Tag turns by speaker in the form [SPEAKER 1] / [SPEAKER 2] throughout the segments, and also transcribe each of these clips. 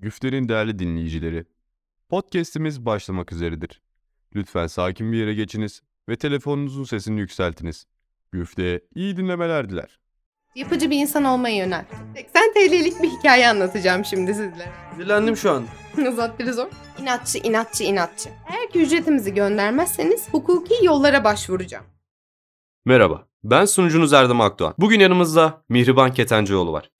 [SPEAKER 1] Güfter'in değerli dinleyicileri, podcast'imiz başlamak üzeredir. Lütfen sakin bir yere geçiniz ve telefonunuzun sesini yükseltiniz. Güfte'ye iyi dinlemeler diler.
[SPEAKER 2] Yapıcı bir insan olmaya yönel. 80 TL'lik bir hikaye anlatacağım şimdi sizlere.
[SPEAKER 3] Dilendim şu an.
[SPEAKER 2] Uzat biraz o. İnatçı, inatçı, inatçı. Eğer ki ücretimizi göndermezseniz hukuki yollara başvuracağım.
[SPEAKER 3] Merhaba. Ben sunucunuz Erdem Akdoğan. Bugün yanımızda Mihriban Ketencoğlu var.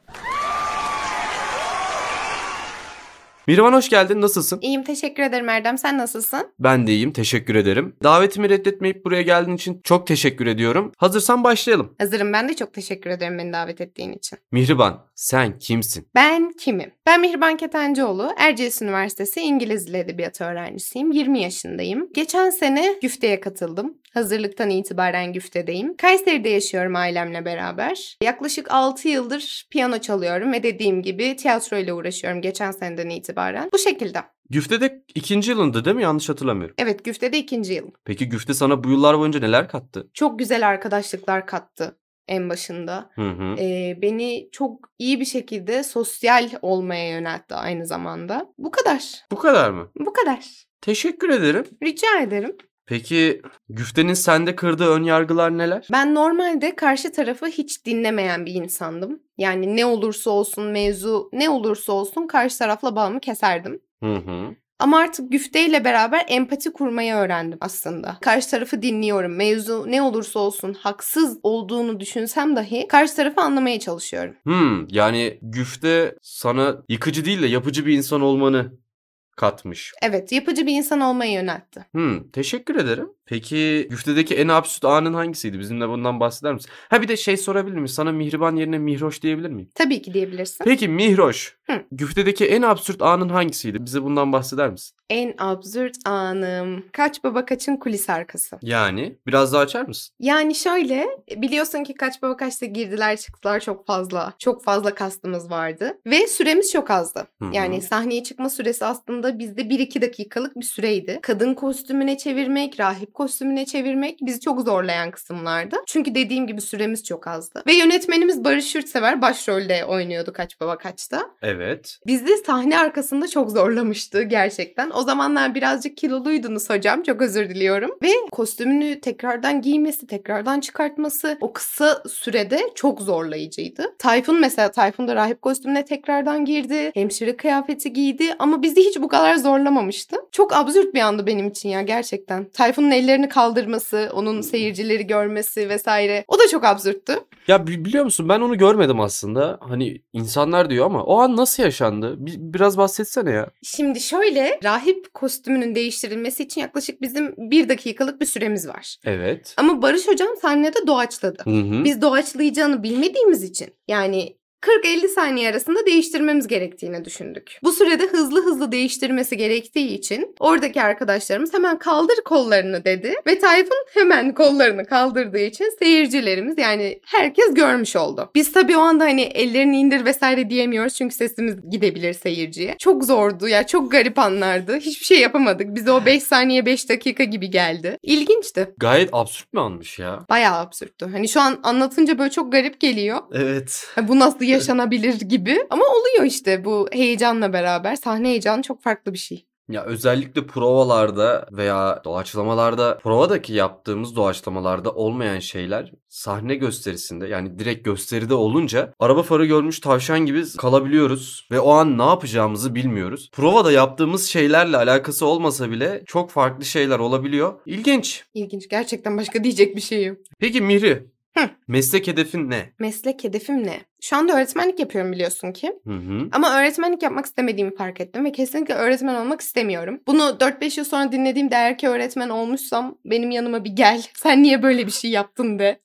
[SPEAKER 3] Mihriban hoş geldin. Nasılsın?
[SPEAKER 2] İyiyim teşekkür ederim Erdem. Sen nasılsın?
[SPEAKER 3] Ben de iyiyim. Teşekkür ederim. Davetimi reddetmeyip buraya geldiğin için çok teşekkür ediyorum. Hazırsan başlayalım.
[SPEAKER 2] Hazırım ben de çok teşekkür ederim beni davet ettiğin için.
[SPEAKER 3] Mihriban, sen kimsin?
[SPEAKER 2] Ben kimim? Ben Mihriban Ketencoğlu. Erciyes Üniversitesi İngiliz Dili Edebiyatı öğrencisiyim. 20 yaşındayım. Geçen sene güfteye katıldım. Hazırlıktan itibaren güftedeyim. Kayseri'de yaşıyorum ailemle beraber. Yaklaşık 6 yıldır piyano çalıyorum ve dediğim gibi tiyatro ile uğraşıyorum geçen seneden itibaren. Bu şekilde.
[SPEAKER 3] Güfte'de ikinci yılında değil mi? Yanlış hatırlamıyorum.
[SPEAKER 2] Evet güftede ikinci yıl.
[SPEAKER 3] Peki Güfte sana bu yıllar boyunca neler kattı?
[SPEAKER 2] Çok güzel arkadaşlıklar kattı en başında.
[SPEAKER 3] Hı hı.
[SPEAKER 2] Ee, beni çok iyi bir şekilde sosyal olmaya yöneltti aynı zamanda. Bu kadar.
[SPEAKER 3] Bu kadar mı?
[SPEAKER 2] Bu kadar.
[SPEAKER 3] Teşekkür ederim.
[SPEAKER 2] Rica ederim.
[SPEAKER 3] Peki Güfte'nin sende kırdığı ön yargılar neler?
[SPEAKER 2] Ben normalde karşı tarafı hiç dinlemeyen bir insandım. Yani ne olursa olsun mevzu ne olursa olsun karşı tarafla bağımı keserdim.
[SPEAKER 3] Hı hı.
[SPEAKER 2] Ama artık güfteyle beraber empati kurmayı öğrendim aslında. Karşı tarafı dinliyorum. Mevzu ne olursa olsun haksız olduğunu düşünsem dahi karşı tarafı anlamaya çalışıyorum.
[SPEAKER 3] Hmm, yani güfte sana yıkıcı değil de yapıcı bir insan olmanı katmış.
[SPEAKER 2] Evet yapıcı bir insan olmaya yöneltti.
[SPEAKER 3] Hmm, teşekkür ederim. Peki güftedeki en absürt anın hangisiydi? Bizimle bundan bahseder misin? Ha bir de şey sorabilir miyim? Sana mihriban yerine mihroş diyebilir miyim?
[SPEAKER 2] Tabii ki diyebilirsin.
[SPEAKER 3] Peki mihroş.
[SPEAKER 2] Hı.
[SPEAKER 3] Güftedeki en absürt anın hangisiydi? Bize bundan bahseder misin?
[SPEAKER 2] En absürt anım. Kaç baba kaçın kulis arkası.
[SPEAKER 3] Yani biraz daha açar mısın?
[SPEAKER 2] Yani şöyle e, biliyorsun ki kaç baba kaçta girdiler çıktılar çok fazla. Çok fazla kastımız vardı. Ve süremiz çok azdı.
[SPEAKER 3] Hı hı.
[SPEAKER 2] Yani sahneye çıkma süresi aslında bizde 1-2 dakikalık bir süreydi. Kadın kostümüne çevirmek, rahip kostümüne çevirmek bizi çok zorlayan kısımlardı. Çünkü dediğim gibi süremiz çok azdı. Ve yönetmenimiz Barış Yurtsever başrolde oynuyordu kaç baba kaçta.
[SPEAKER 3] Evet.
[SPEAKER 2] Bizi sahne arkasında çok zorlamıştı gerçekten. O zamanlar birazcık kiloluydunuz hocam. Çok özür diliyorum. Ve kostümünü tekrardan giymesi, tekrardan çıkartması o kısa sürede çok zorlayıcıydı. Tayfun mesela Tayfun da rahip kostümüne tekrardan girdi. Hemşire kıyafeti giydi ama bizi hiç bu kadar zorlamamıştı. Çok absürt bir andı benim için ya gerçekten. Tayfun'un ellerini kaldırması, onun seyircileri görmesi vesaire. O da çok absürttü.
[SPEAKER 3] Ya bi- biliyor musun ben onu görmedim aslında. Hani insanlar diyor ama o an nasıl yaşandı? Bi- biraz bahsetsene ya.
[SPEAKER 2] Şimdi şöyle rahip kostümünün değiştirilmesi için yaklaşık bizim bir dakikalık bir süremiz var.
[SPEAKER 3] Evet.
[SPEAKER 2] Ama Barış hocam sahnede doğaçladı.
[SPEAKER 3] Hı hı.
[SPEAKER 2] Biz doğaçlayacağını bilmediğimiz için yani 40-50 saniye arasında değiştirmemiz gerektiğini düşündük. Bu sürede hızlı hızlı değiştirmesi gerektiği için oradaki arkadaşlarımız hemen kaldır kollarını dedi ve Tayfun hemen kollarını kaldırdığı için seyircilerimiz yani herkes görmüş oldu. Biz tabii o anda hani ellerini indir vesaire diyemiyoruz çünkü sesimiz gidebilir seyirciye. Çok zordu ya çok garip anlardı. Hiçbir şey yapamadık. Bize o 5 saniye 5 dakika gibi geldi. İlginçti.
[SPEAKER 3] Gayet absürt mü almış ya?
[SPEAKER 2] Bayağı absürttü. Hani şu an anlatınca böyle çok garip geliyor.
[SPEAKER 3] Evet.
[SPEAKER 2] Ha, Bu nasıl yaşanabilir gibi. Ama oluyor işte bu heyecanla beraber. Sahne heyecanı çok farklı bir şey.
[SPEAKER 3] Ya özellikle provalarda veya doğaçlamalarda provadaki yaptığımız doğaçlamalarda olmayan şeyler sahne gösterisinde yani direkt gösteride olunca araba farı görmüş tavşan gibi kalabiliyoruz ve o an ne yapacağımızı bilmiyoruz. Provada yaptığımız şeylerle alakası olmasa bile çok farklı şeyler olabiliyor. İlginç.
[SPEAKER 2] İlginç. Gerçekten başka diyecek bir şey yok.
[SPEAKER 3] Peki Mihri,
[SPEAKER 2] Hı.
[SPEAKER 3] meslek hedefin ne?
[SPEAKER 2] Meslek hedefim ne? Şu anda öğretmenlik yapıyorum biliyorsun ki.
[SPEAKER 3] Hı hı.
[SPEAKER 2] Ama öğretmenlik yapmak istemediğimi fark ettim ve kesinlikle öğretmen olmak istemiyorum. Bunu 4-5 yıl sonra dinlediğimde eğer ki öğretmen olmuşsam benim yanıma bir gel. Sen niye böyle bir şey yaptın de.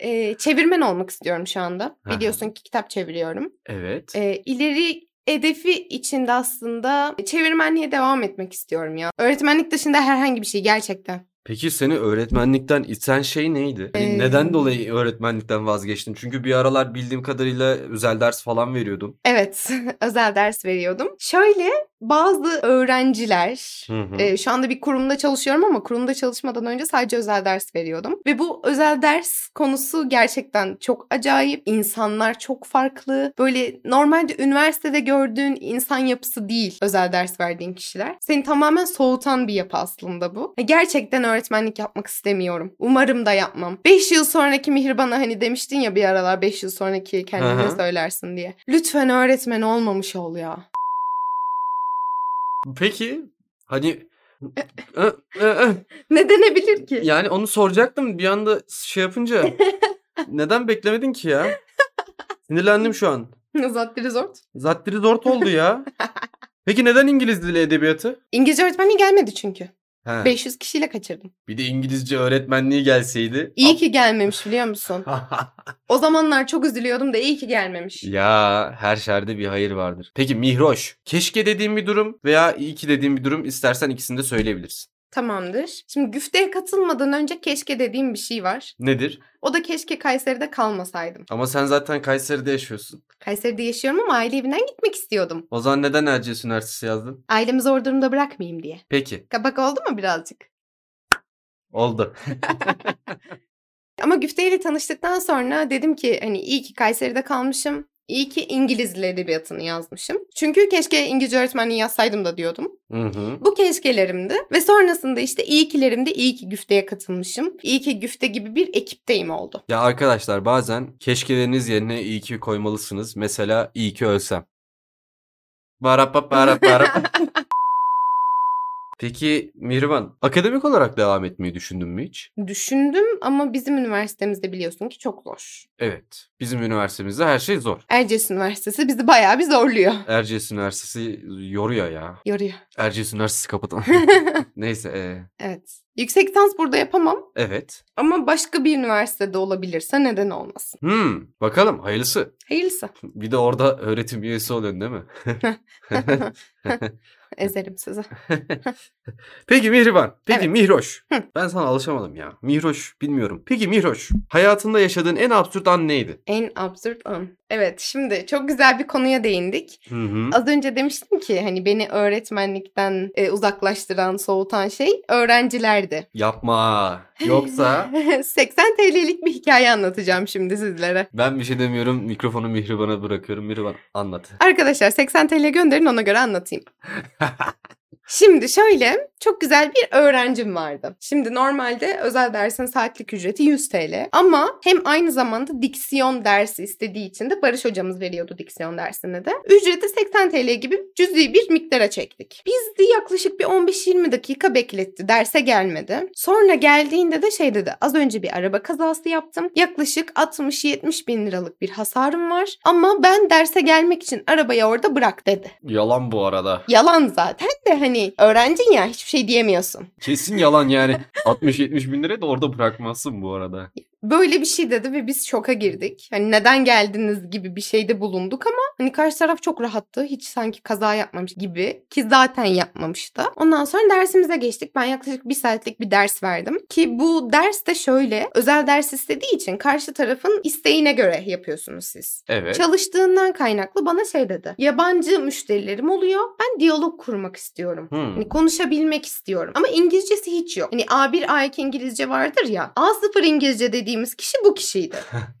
[SPEAKER 2] Ee, çevirmen olmak istiyorum şu anda.
[SPEAKER 3] Aha.
[SPEAKER 2] Biliyorsun ki kitap çeviriyorum.
[SPEAKER 3] evet.
[SPEAKER 2] E, ileri hedefi içinde aslında çevirmenliğe devam etmek istiyorum ya. Öğretmenlik dışında herhangi bir şey gerçekten.
[SPEAKER 3] Peki seni öğretmenlikten iten şey neydi? Hani
[SPEAKER 2] Ee,
[SPEAKER 3] Neden dolayı öğretmenlikten vazgeçtin? Çünkü bir aralar bildiğim kadarıyla özel ders falan veriyordun.
[SPEAKER 2] Evet, özel ders veriyordum. Şöyle bazı öğrenciler
[SPEAKER 3] Hı hı.
[SPEAKER 2] Ee, şu anda bir kurumda çalışıyorum ama kurumda çalışmadan önce sadece özel ders veriyordum. Ve bu özel ders konusu gerçekten çok acayip. İnsanlar çok farklı. Böyle normalde üniversitede gördüğün insan yapısı değil özel ders verdiğin kişiler. Seni tamamen soğutan bir yapı aslında bu. Ya Gerçekten öğretmenlik yapmak istemiyorum. Umarım da yapmam. 5 yıl sonraki Mihir bana hani demiştin ya bir aralar 5 yıl sonraki kendine
[SPEAKER 3] Aha.
[SPEAKER 2] söylersin diye. Lütfen öğretmen olmamış ol ya.
[SPEAKER 3] Peki hani
[SPEAKER 2] e,
[SPEAKER 3] Ö, ö, ö.
[SPEAKER 2] Ne denebilir ki?
[SPEAKER 3] yani onu soracaktım bir anda şey yapınca neden beklemedin ki ya? Sinirlendim şu an.
[SPEAKER 2] Zat Resort.
[SPEAKER 3] Zattiri zort oldu ya. Peki neden İngiliz dili edebiyatı?
[SPEAKER 2] İngilizce öğretmenliği gelmedi çünkü.
[SPEAKER 3] He,
[SPEAKER 2] 500 kişiyle kaçırdım.
[SPEAKER 3] Bir de İngilizce öğretmenliği gelseydi.
[SPEAKER 2] İyi ki gelmemiş biliyor musun?
[SPEAKER 3] Ah.
[SPEAKER 2] O zamanlar çok üzülüyordum da iyi ki gelmemiş.
[SPEAKER 3] ya her şerde bir hayır vardır. Peki Mihroş, keşke dediğim bir durum veya iyi ki dediğim bir durum istersen ikisini de söyleyebilirsin.
[SPEAKER 2] Tamamdır. Şimdi güfteye katılmadan önce keşke dediğim bir şey var.
[SPEAKER 3] Nedir?
[SPEAKER 2] O da keşke Kayseri'de kalmasaydım.
[SPEAKER 3] Ama sen zaten Kayseri'de yaşıyorsun.
[SPEAKER 2] Kayseri'de yaşıyorum ama aile evinden gitmek istiyordum.
[SPEAKER 3] O zaman neden Erciyes Üniversitesi yazdın?
[SPEAKER 2] Ailemi zor durumda bırakmayayım diye.
[SPEAKER 3] Peki,
[SPEAKER 2] Kabak oldu mu birazcık?
[SPEAKER 3] oldu.
[SPEAKER 2] Ama Güfte ile tanıştıktan sonra dedim ki hani iyi ki Kayseri'de kalmışım. İyi ki İngiliz Dili Edebiyatı'nı yazmışım. Çünkü keşke İngilizce öğretmenliği yazsaydım da diyordum.
[SPEAKER 3] Hı hı.
[SPEAKER 2] Bu keşkelerimdi ve sonrasında işte iyi kilerimde iyi ki güfteye katılmışım. İyi ki güfte gibi bir ekipteyim oldu.
[SPEAKER 3] Ya arkadaşlar bazen keşkeleriniz yerine iyi ki koymalısınız. Mesela iyi ki ölsem. Barap barap barap. Peki Mirvan, akademik olarak devam etmeyi düşündün mü hiç?
[SPEAKER 2] Düşündüm ama bizim üniversitemizde biliyorsun ki çok zor.
[SPEAKER 3] Evet. Bizim üniversitemizde her şey zor.
[SPEAKER 2] Erciyes Üniversitesi bizi bayağı bir zorluyor.
[SPEAKER 3] Erciyes Üniversitesi yoruyor ya.
[SPEAKER 2] Yoruyor.
[SPEAKER 3] Erciyes Üniversitesi kapatalım. Neyse. e,
[SPEAKER 2] evet. Yüksek lisans burada yapamam
[SPEAKER 3] evet.
[SPEAKER 2] ama başka bir üniversitede olabilirse neden olmasın.
[SPEAKER 3] Hmm, bakalım hayırlısı.
[SPEAKER 2] Hayırlısı.
[SPEAKER 3] Bir de orada öğretim üyesi oluyorsun değil mi?
[SPEAKER 2] Ezerim sizi.
[SPEAKER 3] Peki Mihriban. Peki
[SPEAKER 2] Evet.
[SPEAKER 3] Mihroş.
[SPEAKER 2] Hı.
[SPEAKER 3] Ben sana alışamadım ya. Mihroş bilmiyorum. Peki Mihroş. Hayatında yaşadığın en absürt an neydi?
[SPEAKER 2] En absürt an. Evet şimdi çok güzel bir konuya değindik.
[SPEAKER 3] Hı hı.
[SPEAKER 2] Az önce demiştim ki hani beni öğretmenlikten e, uzaklaştıran, soğutan şey öğrencilerdi.
[SPEAKER 3] Yapma. Yoksa
[SPEAKER 2] 80 TL'lik bir hikaye anlatacağım şimdi sizlere.
[SPEAKER 3] ben bir şey demiyorum. Mikrofonu Mihriban'a bırakıyorum. Mihriban anlat.
[SPEAKER 2] Arkadaşlar 80 TL gönderin ona göre anlatayım. Şimdi şöyle çok güzel bir öğrencim vardı. Şimdi normalde özel dersin saatlik ücreti 100 TL ama hem aynı zamanda diksiyon dersi istediği için de Barış hocamız veriyordu diksiyon dersini de. Ücreti 80 TL gibi cüzi bir miktara çektik. Biz de yaklaşık bir 15-20 dakika bekletti. Derse gelmedi. Sonra geldiğinde de şey dedi az önce bir araba kazası yaptım. Yaklaşık 60-70 bin liralık bir hasarım var ama ben derse gelmek için arabayı orada bırak dedi.
[SPEAKER 3] yalan bu arada.
[SPEAKER 2] Yalan zaten de hani öğrencin ya hiçbir şey diyemiyorsun.
[SPEAKER 3] Kesin yalan yani. 60-70 bin lirayı da orada bırakmazsın bu arada.
[SPEAKER 2] Böyle bir şey dedi ve biz şoka girdik. Hani neden geldiniz gibi bir şeyde bulunduk ama hani karşı taraf çok rahattı. Hiç sanki kaza yapmamış gibi ki zaten yapmamış da. Ondan sonra dersimize geçtik. Ben yaklaşık bir saatlik bir ders verdim. Ki bu ders de şöyle özel ders istediği için karşı tarafın isteğine göre yapıyorsunuz siz.
[SPEAKER 3] Evet.
[SPEAKER 2] Çalıştığından kaynaklı bana şey dedi. Yabancı müşterilerim oluyor. Ben diyalog kurmak istiyorum.
[SPEAKER 3] Hmm.
[SPEAKER 2] Hani konuşabilmek istiyorum. Ama İngilizcesi hiç yok. Hani A1, A2 İngilizce vardır ya. A0 İngilizce dediğimiz kişi bu kişiydi.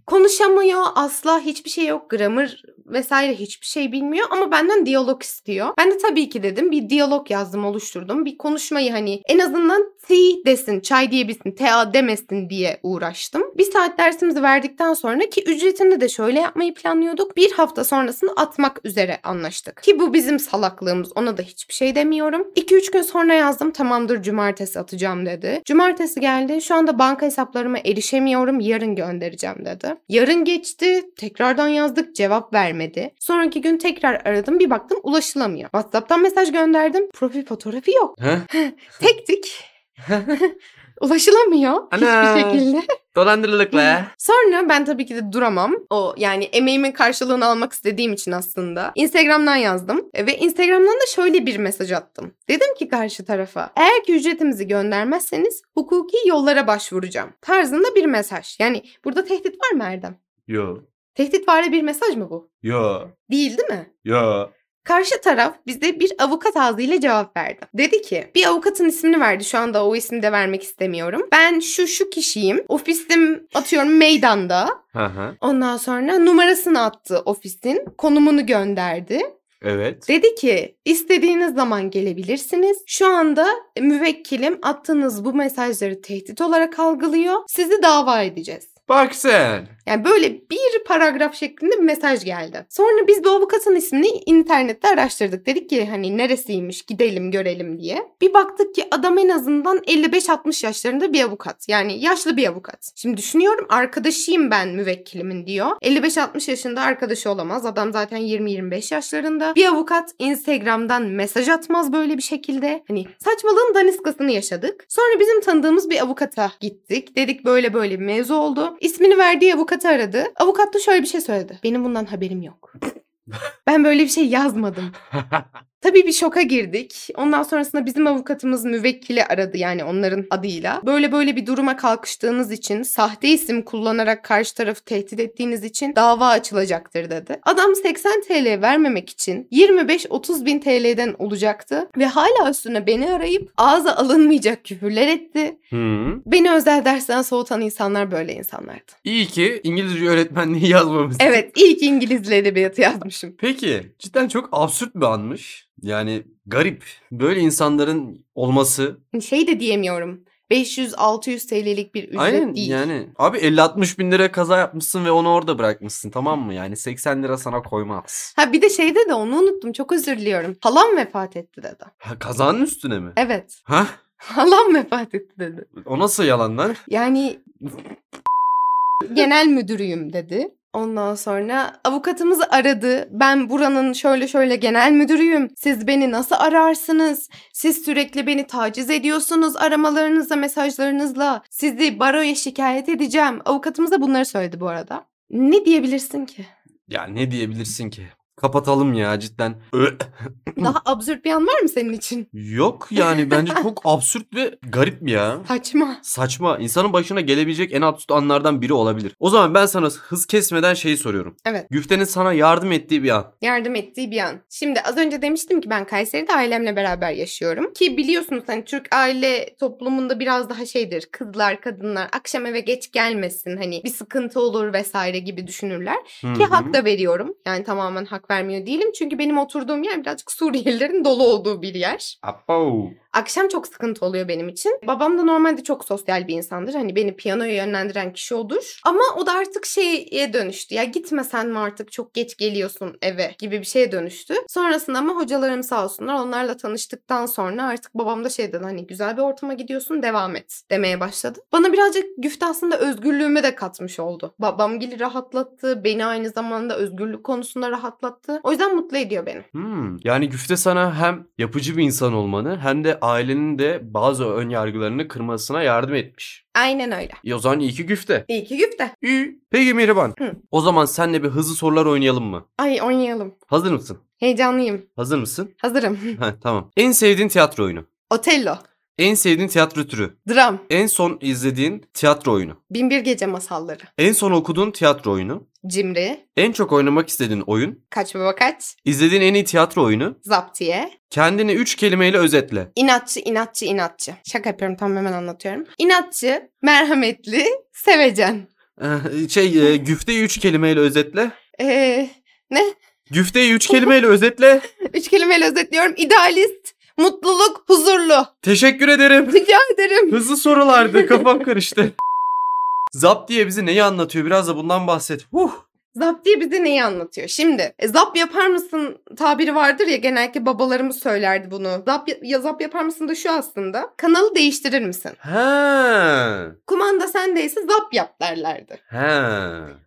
[SPEAKER 2] Konuşamıyor asla hiçbir şey yok. Grammar vesaire hiçbir şey bilmiyor ama benden diyalog istiyor. Ben de tabii ki dedim bir diyalog yazdım oluşturdum. Bir konuşmayı hani en azından tea desin, çay diyebilsin, tea demesin diye uğraştım. Bir saat dersimizi verdikten sonra ki ücretini de şöyle yapmayı planlıyorduk. Bir hafta sonrasını atmak üzere anlaştık. Ki bu bizim salaklığımız ona da hiçbir şey demiyorum. 2-3 gün sonra yazdım tamamdır cumartesi atacağım dedi. Cumartesi geldi şu anda banka hesaplarıma erişemiyorum yarın göndereceğim dedi. Yarın geçti tekrardan yazdık cevap vermedi. Sonraki gün tekrar aradım bir baktım ulaşılamıyor. Whatsapp'tan mesaj gönderdim profil fotoğrafı yok.
[SPEAKER 3] Heh.
[SPEAKER 2] Tek tik ulaşılamıyor
[SPEAKER 3] Ana.
[SPEAKER 2] hiçbir şekilde.
[SPEAKER 3] Dolandırılık be.
[SPEAKER 2] Sonra ben tabii ki de duramam. O yani emeğimin karşılığını almak istediğim için aslında. Instagram'dan yazdım E, ve Instagram'dan da şöyle bir mesaj attım. Dedim ki karşı tarafa eğer ki ücretimizi göndermezseniz hukuki yollara başvuracağım tarzında bir mesaj. Yani burada tehdit var mı Erdem?
[SPEAKER 3] Yo.
[SPEAKER 2] Tehditvari bir mesaj mı bu?
[SPEAKER 3] Yo.
[SPEAKER 2] Değil değil mi?
[SPEAKER 3] Yo.
[SPEAKER 2] Karşı taraf bize bir avukat ağzıyla cevap verdi. Dedi ki bir avukatın ismini verdi şu anda o ismi de vermek istemiyorum. Ben şu şu kişiyim. Ofisim atıyorum meydanda.
[SPEAKER 3] Hı hı.
[SPEAKER 2] Ondan sonra numarasını attı ofisin. Konumunu gönderdi.
[SPEAKER 3] Evet.
[SPEAKER 2] Dedi ki istediğiniz zaman gelebilirsiniz. Şu anda müvekkilim attığınız bu mesajları tehdit olarak algılıyor. Sizi dava edeceğiz.
[SPEAKER 3] Bak sen.
[SPEAKER 2] Yani böyle bir paragraf şeklinde bir mesaj geldi. Sonra biz bu avukatın ismini internette araştırdık. Dedik ki hani neresiymiş gidelim görelim diye. Bir baktık ki adam en azından 55-60 yaşlarında bir avukat. Yani yaşlı bir avukat. Şimdi düşünüyorum arkadaşıyım ben müvekkilimin diyor. 55-60 yaşında arkadaşı olamaz. Adam zaten 20-25 yaşlarında. Bir avukat Instagram'dan mesaj atmaz böyle bir şekilde. Hani saçmalığın daniskasını yaşadık. Sonra bizim tanıdığımız bir avukata gittik. Dedik böyle böyle bir mevzu oldu. İsmini verdiği avukatı aradı. Avukat da şöyle bir şey söyledi. Benim bundan haberim yok. Ben böyle bir şey yazmadım. Tabii bir şoka girdik. Ondan sonrasında bizim avukatımız müvekkili aradı yani onların adıyla. Böyle böyle bir duruma kalkıştığınız için, sahte isim kullanarak karşı tarafı tehdit ettiğiniz için dava açılacaktır dedi. Adam 80 TL vermemek için 25-30 bin TL'den olacaktı ve hala üstüne beni arayıp ağza alınmayacak küfürler etti.
[SPEAKER 3] Hı.
[SPEAKER 2] Beni özel dersten soğutan insanlar böyle insanlardı.
[SPEAKER 3] İyi ki İngilizce öğretmenliği yazmamışsın.
[SPEAKER 2] Evet ilk İngiliz edebiyatı yazmışım.
[SPEAKER 3] Peki cidden çok absürt bir anmış. Yani garip. Böyle insanların olması.
[SPEAKER 2] Şey de diyemiyorum. 500-600 TL'lik bir ücret
[SPEAKER 3] Aynen
[SPEAKER 2] değil.
[SPEAKER 3] yani. Abi 50-60 bin lira kaza yapmışsın ve onu orada bırakmışsın tamam mı? Yani 80 lira sana koymaz.
[SPEAKER 2] Ha bir de şeyde de onu unuttum. Çok özür diliyorum. Halam vefat etti dedi.
[SPEAKER 3] Ha, kazanın üstüne mi?
[SPEAKER 2] Evet.
[SPEAKER 3] Ha?
[SPEAKER 2] Halam vefat etti dedi.
[SPEAKER 3] O nasıl yalan lan?
[SPEAKER 2] Yani genel müdürüyüm dedi. Ondan sonra avukatımızı aradı. Ben buranın şöyle şöyle genel müdürüyüm. Siz beni nasıl ararsınız? Siz sürekli beni taciz ediyorsunuz aramalarınızla, mesajlarınızla. Sizi baroya şikayet edeceğim. Avukatımız da bunları söyledi bu arada. Ne diyebilirsin ki?
[SPEAKER 3] Ya ne diyebilirsin ki? Kapatalım ya cidden. Ö-
[SPEAKER 2] Daha absürt bir an var mı senin için?
[SPEAKER 3] Yok yani bence çok absürt ve garip ya.
[SPEAKER 2] Saçma.
[SPEAKER 3] Saçma. İnsanın başına gelebilecek en absürt anlardan biri olabilir. O zaman ben sana hız kesmeden şeyi soruyorum.
[SPEAKER 2] Evet.
[SPEAKER 3] Güfte'nin sana yardım ettiği bir an.
[SPEAKER 2] yardım ettiği bir an. Şimdi az önce demiştim ki ben Kayseri'de ailemle beraber yaşıyorum. Ki biliyorsunuz hani Türk aile toplumunda biraz daha şeydir. Kızlar, kadınlar akşam eve geç gelmesin hani bir sıkıntı olur vesaire gibi düşünürler.
[SPEAKER 3] Hı
[SPEAKER 2] Ki
[SPEAKER 3] hı.
[SPEAKER 2] hak da veriyorum. Yani tamamen hak vermiyor değilim. Çünkü benim oturduğum yer birazcık Suriyelilerin dolu olduğu bir yer.
[SPEAKER 3] Apo.
[SPEAKER 2] Akşam çok sıkıntı oluyor benim için. Babam da normalde çok sosyal bir insandır. Hani beni piyanoya yönlendiren kişi odur. Ama o da artık şeye dönüştü. Ya gitmesen mi artık çok geç geliyorsun eve gibi bir şeye dönüştü. Sonrasında ama hocalarım sağ olsunlar onlarla tanıştıktan sonra artık babam da şey dedi hani güzel bir ortama gidiyorsun devam et demeye başladı. Bana birazcık güfte aslında özgürlüğüme de katmış oldu. Babam gibi rahatlattı. Beni aynı zamanda özgürlük konusunda rahatlattı. O yüzden mutlu ediyor beni.
[SPEAKER 3] Hmm. Yani güfte sana hem yapıcı bir insan olmanı hem de ailenin de bazı ön yargılarını kırmasına yardım etmiş.
[SPEAKER 2] Aynen öyle.
[SPEAKER 3] E o zaman iyi ki güfte.
[SPEAKER 2] İyi ki güfte.
[SPEAKER 3] İyi. Peki Mihriban.
[SPEAKER 2] Hı.
[SPEAKER 3] O zaman senle bir hızlı sorular oynayalım mı?
[SPEAKER 2] Ay oynayalım.
[SPEAKER 3] Hazır mısın?
[SPEAKER 2] Heyecanlıyım.
[SPEAKER 3] Hazır mısın?
[SPEAKER 2] Hazırım.
[SPEAKER 3] Heh, tamam. En sevdiğin tiyatro oyunu.
[SPEAKER 2] Otello,
[SPEAKER 3] En sevdiğin tiyatro türü.
[SPEAKER 2] dram,
[SPEAKER 3] En son izlediğin tiyatro oyunu.
[SPEAKER 2] Binbir Gece Masalları,
[SPEAKER 3] En son okuduğun tiyatro oyunu.
[SPEAKER 2] Cimri,
[SPEAKER 3] En çok oynamak istediğin oyun.
[SPEAKER 2] Kaç Baba Kaç,
[SPEAKER 3] İzlediğin en iyi tiyatro oyunu.
[SPEAKER 2] Zaptiye,
[SPEAKER 3] Kendini 3 kelimeyle özetle.
[SPEAKER 2] İnatçı, inatçı, inatçı. Şaka yapıyorum tam hemen anlatıyorum. İnatçı, merhametli, sevecen.
[SPEAKER 3] Eh, Şey, e, güfteyi 3 kelimeyle özetle.
[SPEAKER 2] Ee,
[SPEAKER 3] Güfteyi 3 kelimeyle özetle.
[SPEAKER 2] üç kelimeyle özetliyorum. İdealist, mutluluk, huzurlu.
[SPEAKER 3] Teşekkür ederim.
[SPEAKER 2] Rica ederim.
[SPEAKER 3] Hızlı sorulardı. Kafam karıştı. Zap diye bize neyi anlatıyor? Biraz da bundan bahset. Huh.
[SPEAKER 2] Zaptiye bize neyi anlatıyor? Şimdi e, zap yapar mısın tabiri vardır ya genellikle babalarımız söylerdi bunu. Zap, ya, zap yapar mısın da şu aslında. Kanalı değiştirir misin?
[SPEAKER 3] He.
[SPEAKER 2] Kumanda sendeyse zap yap derlerdi.
[SPEAKER 3] He.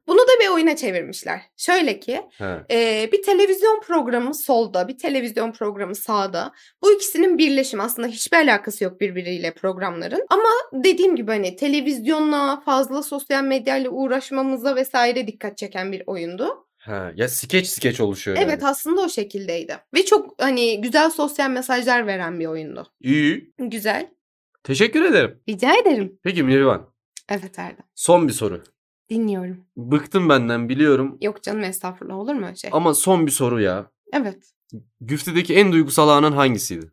[SPEAKER 2] Bunu da bir oyuna çevirmişler. Şöyle ki
[SPEAKER 3] He.
[SPEAKER 2] e, bir televizyon programı solda, bir televizyon programı sağda. Bu ikisinin birleşimi aslında hiçbir alakası yok birbiriyle programların. Ama dediğim gibi hani televizyonla, fazla sosyal medyayla uğraşmamıza vesaire dikkat çeken bir oyundu.
[SPEAKER 3] He. Ya skeç skeç oluşuyor. yani.
[SPEAKER 2] Evet aslında o şekildeydi. Ve çok hani güzel sosyal mesajlar veren bir oyundu.
[SPEAKER 3] İyi.
[SPEAKER 2] Güzel.
[SPEAKER 3] Teşekkür ederim.
[SPEAKER 2] Rica ederim.
[SPEAKER 3] Peki Mihriban.
[SPEAKER 2] Evet Erdem.
[SPEAKER 3] Son bir soru.
[SPEAKER 2] Dinliyorum.
[SPEAKER 3] Bıktım benden biliyorum.
[SPEAKER 2] Yok canım estağfurullah olur mu öyle şey?
[SPEAKER 3] Ama son bir soru ya.
[SPEAKER 2] Evet.
[SPEAKER 3] Güftedeki en duygusal anın hangisiydi?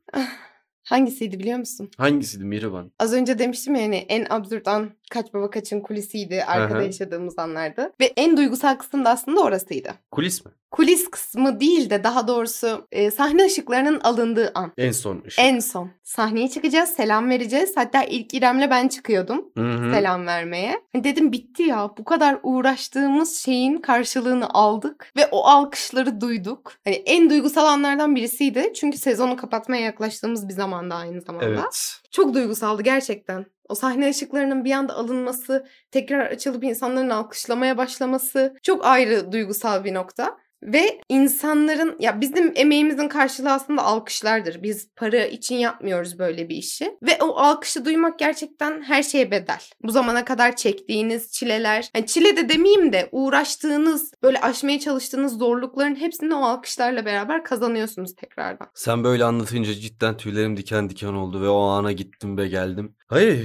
[SPEAKER 2] Hangisiydi biliyor musun?
[SPEAKER 3] Hangisiydi Mihriban?
[SPEAKER 2] Az önce demiştim ya hani en absürt an kaç baba kaçın kulisiydi arkada
[SPEAKER 3] Aha.
[SPEAKER 2] yaşadığımız anlarda. Ve en duygusal kısım da aslında orasıydı.
[SPEAKER 3] Kulis mi?
[SPEAKER 2] Kulis kısmı değil de daha doğrusu e, sahne ışıklarının alındığı an.
[SPEAKER 3] En son ışık.
[SPEAKER 2] En son. Sahneye çıkacağız, selam vereceğiz. Hatta ilk İrem'le ben çıkıyordum
[SPEAKER 3] Hı hı.
[SPEAKER 2] selam vermeye. Hani Dedim bitti ya. Bu kadar uğraştığımız şeyin karşılığını aldık ve o alkışları duyduk. Hani en duygusal anlardan birisiydi. Çünkü sezonu kapatmaya yaklaştığımız bir zamanda aynı zamanda.
[SPEAKER 3] Evet.
[SPEAKER 2] Çok duygusaldı gerçekten. O sahne ışıklarının bir anda alınması, tekrar açılıp insanların alkışlamaya başlaması çok ayrı duygusal bir nokta. Ve insanların ya bizim emeğimizin karşılığı aslında alkışlardır. Biz para için yapmıyoruz böyle bir işi. Ve o alkışı duymak gerçekten her şeye bedel. Bu zamana kadar çektiğiniz çileler, yani çile de demeyeyim de uğraştığınız, böyle aşmaya çalıştığınız zorlukların hepsini o alkışlarla beraber kazanıyorsunuz tekrardan.
[SPEAKER 3] Sen böyle anlatınca cidden tüylerim diken diken oldu ve o ana gittim ve geldim. Ay.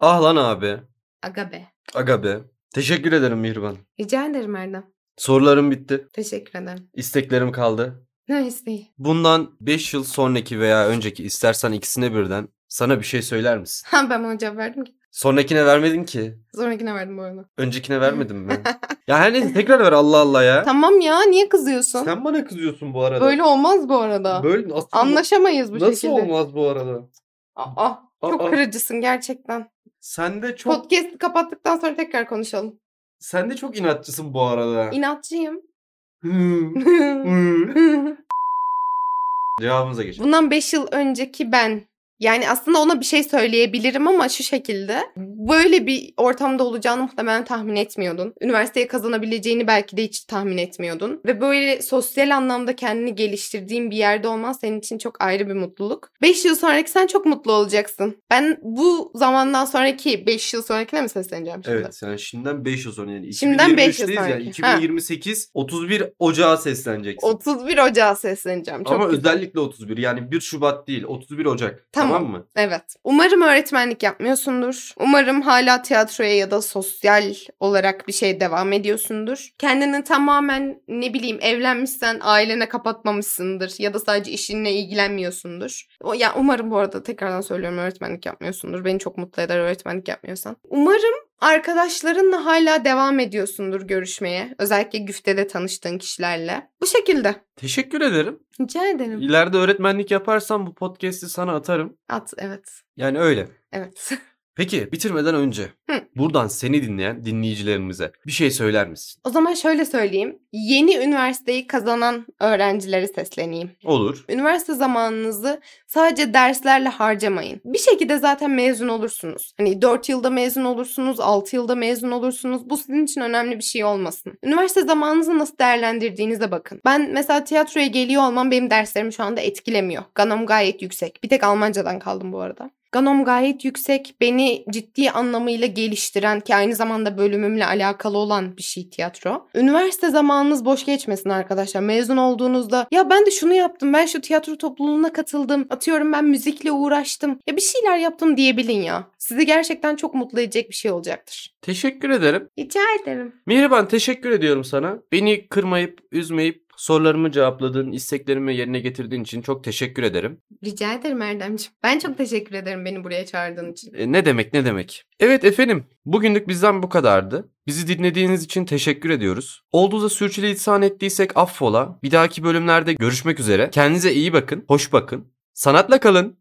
[SPEAKER 3] Ah lan abi.
[SPEAKER 2] Aga be.
[SPEAKER 3] Aga be. Teşekkür ederim Mihriban.
[SPEAKER 2] Rica ederim Erdem.
[SPEAKER 3] Sorularım bitti.
[SPEAKER 2] Teşekkür ederim.
[SPEAKER 3] İsteklerim kaldı.
[SPEAKER 2] Neyse.
[SPEAKER 3] Bundan 5 yıl sonraki veya önceki istersen ikisine birden sana bir şey söyler misin?
[SPEAKER 2] Ha ben ona cevap verdim ki.
[SPEAKER 3] Sonrakine vermedin ki.
[SPEAKER 2] Sonrakine verdim bu arada.
[SPEAKER 3] Öncekine vermedin mi? ya her neyse tekrar ver Allah Allah ya.
[SPEAKER 2] Tamam ya niye kızıyorsun?
[SPEAKER 3] Sen bana kızıyorsun bu arada.
[SPEAKER 2] Böyle olmaz bu arada.
[SPEAKER 3] Böyle aslında
[SPEAKER 2] Anlaşamayız bu
[SPEAKER 3] nasıl
[SPEAKER 2] şekilde.
[SPEAKER 3] olmaz bu arada?
[SPEAKER 2] Aa, çok
[SPEAKER 3] Aa.
[SPEAKER 2] kırıcısın gerçekten.
[SPEAKER 3] Sende çok
[SPEAKER 2] Podcast kapattıktan sonra tekrar konuşalım.
[SPEAKER 3] sen de çok inatçısın bu arada.
[SPEAKER 2] İnatçıyım.
[SPEAKER 3] Hı, hı. Cevabımıza geç.
[SPEAKER 2] Bundan 5 yıl önceki ben yani aslında ona bir şey söyleyebilirim ama şu şekilde. Böyle bir ortamda olacağını muhtemelen tahmin etmiyordun. Üniversiteye kazanabileceğini belki de hiç tahmin etmiyordun. Ve böyle sosyal anlamda kendini geliştirdiğin bir yerde olman senin için çok ayrı bir mutluluk. 5 yıl sonraki sen çok mutlu olacaksın. Ben bu zamandan sonraki 5 yıl sonrakine mi sesleneceğim şimdi?
[SPEAKER 3] Evet yani şimdiden 5 yıl sonra yani
[SPEAKER 2] Şimdiden beş yıl
[SPEAKER 3] 2023'teyiz yani
[SPEAKER 2] sonraki.
[SPEAKER 3] 2028 31 Ocağı sesleneceksin.
[SPEAKER 2] 31 Ocağı sesleneceğim. Çok
[SPEAKER 3] Ama
[SPEAKER 2] güzel.
[SPEAKER 3] özellikle 31 yani 1 Şubat değil 31 Ocak
[SPEAKER 2] Tamam.
[SPEAKER 3] tamam, mı?
[SPEAKER 2] Evet. Umarım öğretmenlik yapmıyorsundur. Umarım hala tiyatroya ya da sosyal olarak bir şey devam ediyorsundur. Kendini tamamen ne bileyim evlenmişsen ailene kapatmamışsındır ya da sadece işinle ilgilenmiyorsundur. O ya umarım bu arada tekrardan söylüyorum öğretmenlik yapmıyorsundur. Beni çok mutlu eder öğretmenlik yapmıyorsan. Umarım arkadaşlarınla hala devam ediyorsundur görüşmeye. Özellikle güftede tanıştığın kişilerle. Bu şekilde.
[SPEAKER 3] Teşekkür ederim.
[SPEAKER 2] Rica ederim.
[SPEAKER 3] İleride öğretmenlik yaparsam bu podcast'i sana atarım.
[SPEAKER 2] At evet.
[SPEAKER 3] Yani öyle.
[SPEAKER 2] Evet.
[SPEAKER 3] Peki bitirmeden önce
[SPEAKER 2] Hı.
[SPEAKER 3] buradan seni dinleyen dinleyicilerimize bir şey söyler misin?
[SPEAKER 2] O zaman şöyle söyleyeyim. Yeni üniversiteyi kazanan öğrencilere sesleneyim.
[SPEAKER 3] Olur.
[SPEAKER 2] Üniversite zamanınızı sadece derslerle harcamayın. Bir şekilde zaten mezun olursunuz. Hani 4 yılda mezun olursunuz, 6 yılda mezun olursunuz. Bu sizin için önemli bir şey olmasın. Üniversite zamanınızı nasıl değerlendirdiğinize bakın. Ben mesela tiyatroya geliyor olmam benim derslerimi şu anda etkilemiyor. Ganom gayet yüksek. Bir tek Almancadan kaldım bu arada. Ganom gayet yüksek. Beni ciddi anlamıyla geliştiren ki aynı zamanda bölümümle alakalı olan bir şey tiyatro. Üniversite zamanınız boş geçmesin arkadaşlar. Mezun olduğunuzda ya ben de şunu yaptım. Ben şu tiyatro topluluğuna katıldım. Atıyorum ben müzikle uğraştım. Ya bir şeyler yaptım diyebilin ya. Sizi gerçekten çok mutlu edecek bir şey olacaktır.
[SPEAKER 3] Teşekkür ederim.
[SPEAKER 2] Rica ederim.
[SPEAKER 3] Mihriban teşekkür ediyorum sana. Beni kırmayıp, üzmeyip sorularımı cevapladığın, isteklerimi yerine getirdiğin için çok teşekkür ederim.
[SPEAKER 2] Rica ederim Erdemciğim. Ben çok teşekkür ederim beni buraya çağırdığın için.
[SPEAKER 3] E, ne demek ne demek. Evet efendim bugünlük bizden bu kadardı. Bizi dinlediğiniz için teşekkür ediyoruz. Olduğuza sürçülisan ettiysek affola. Bir dahaki bölümlerde görüşmek üzere. Kendinize iyi bakın, hoş bakın. Sanatla kalın.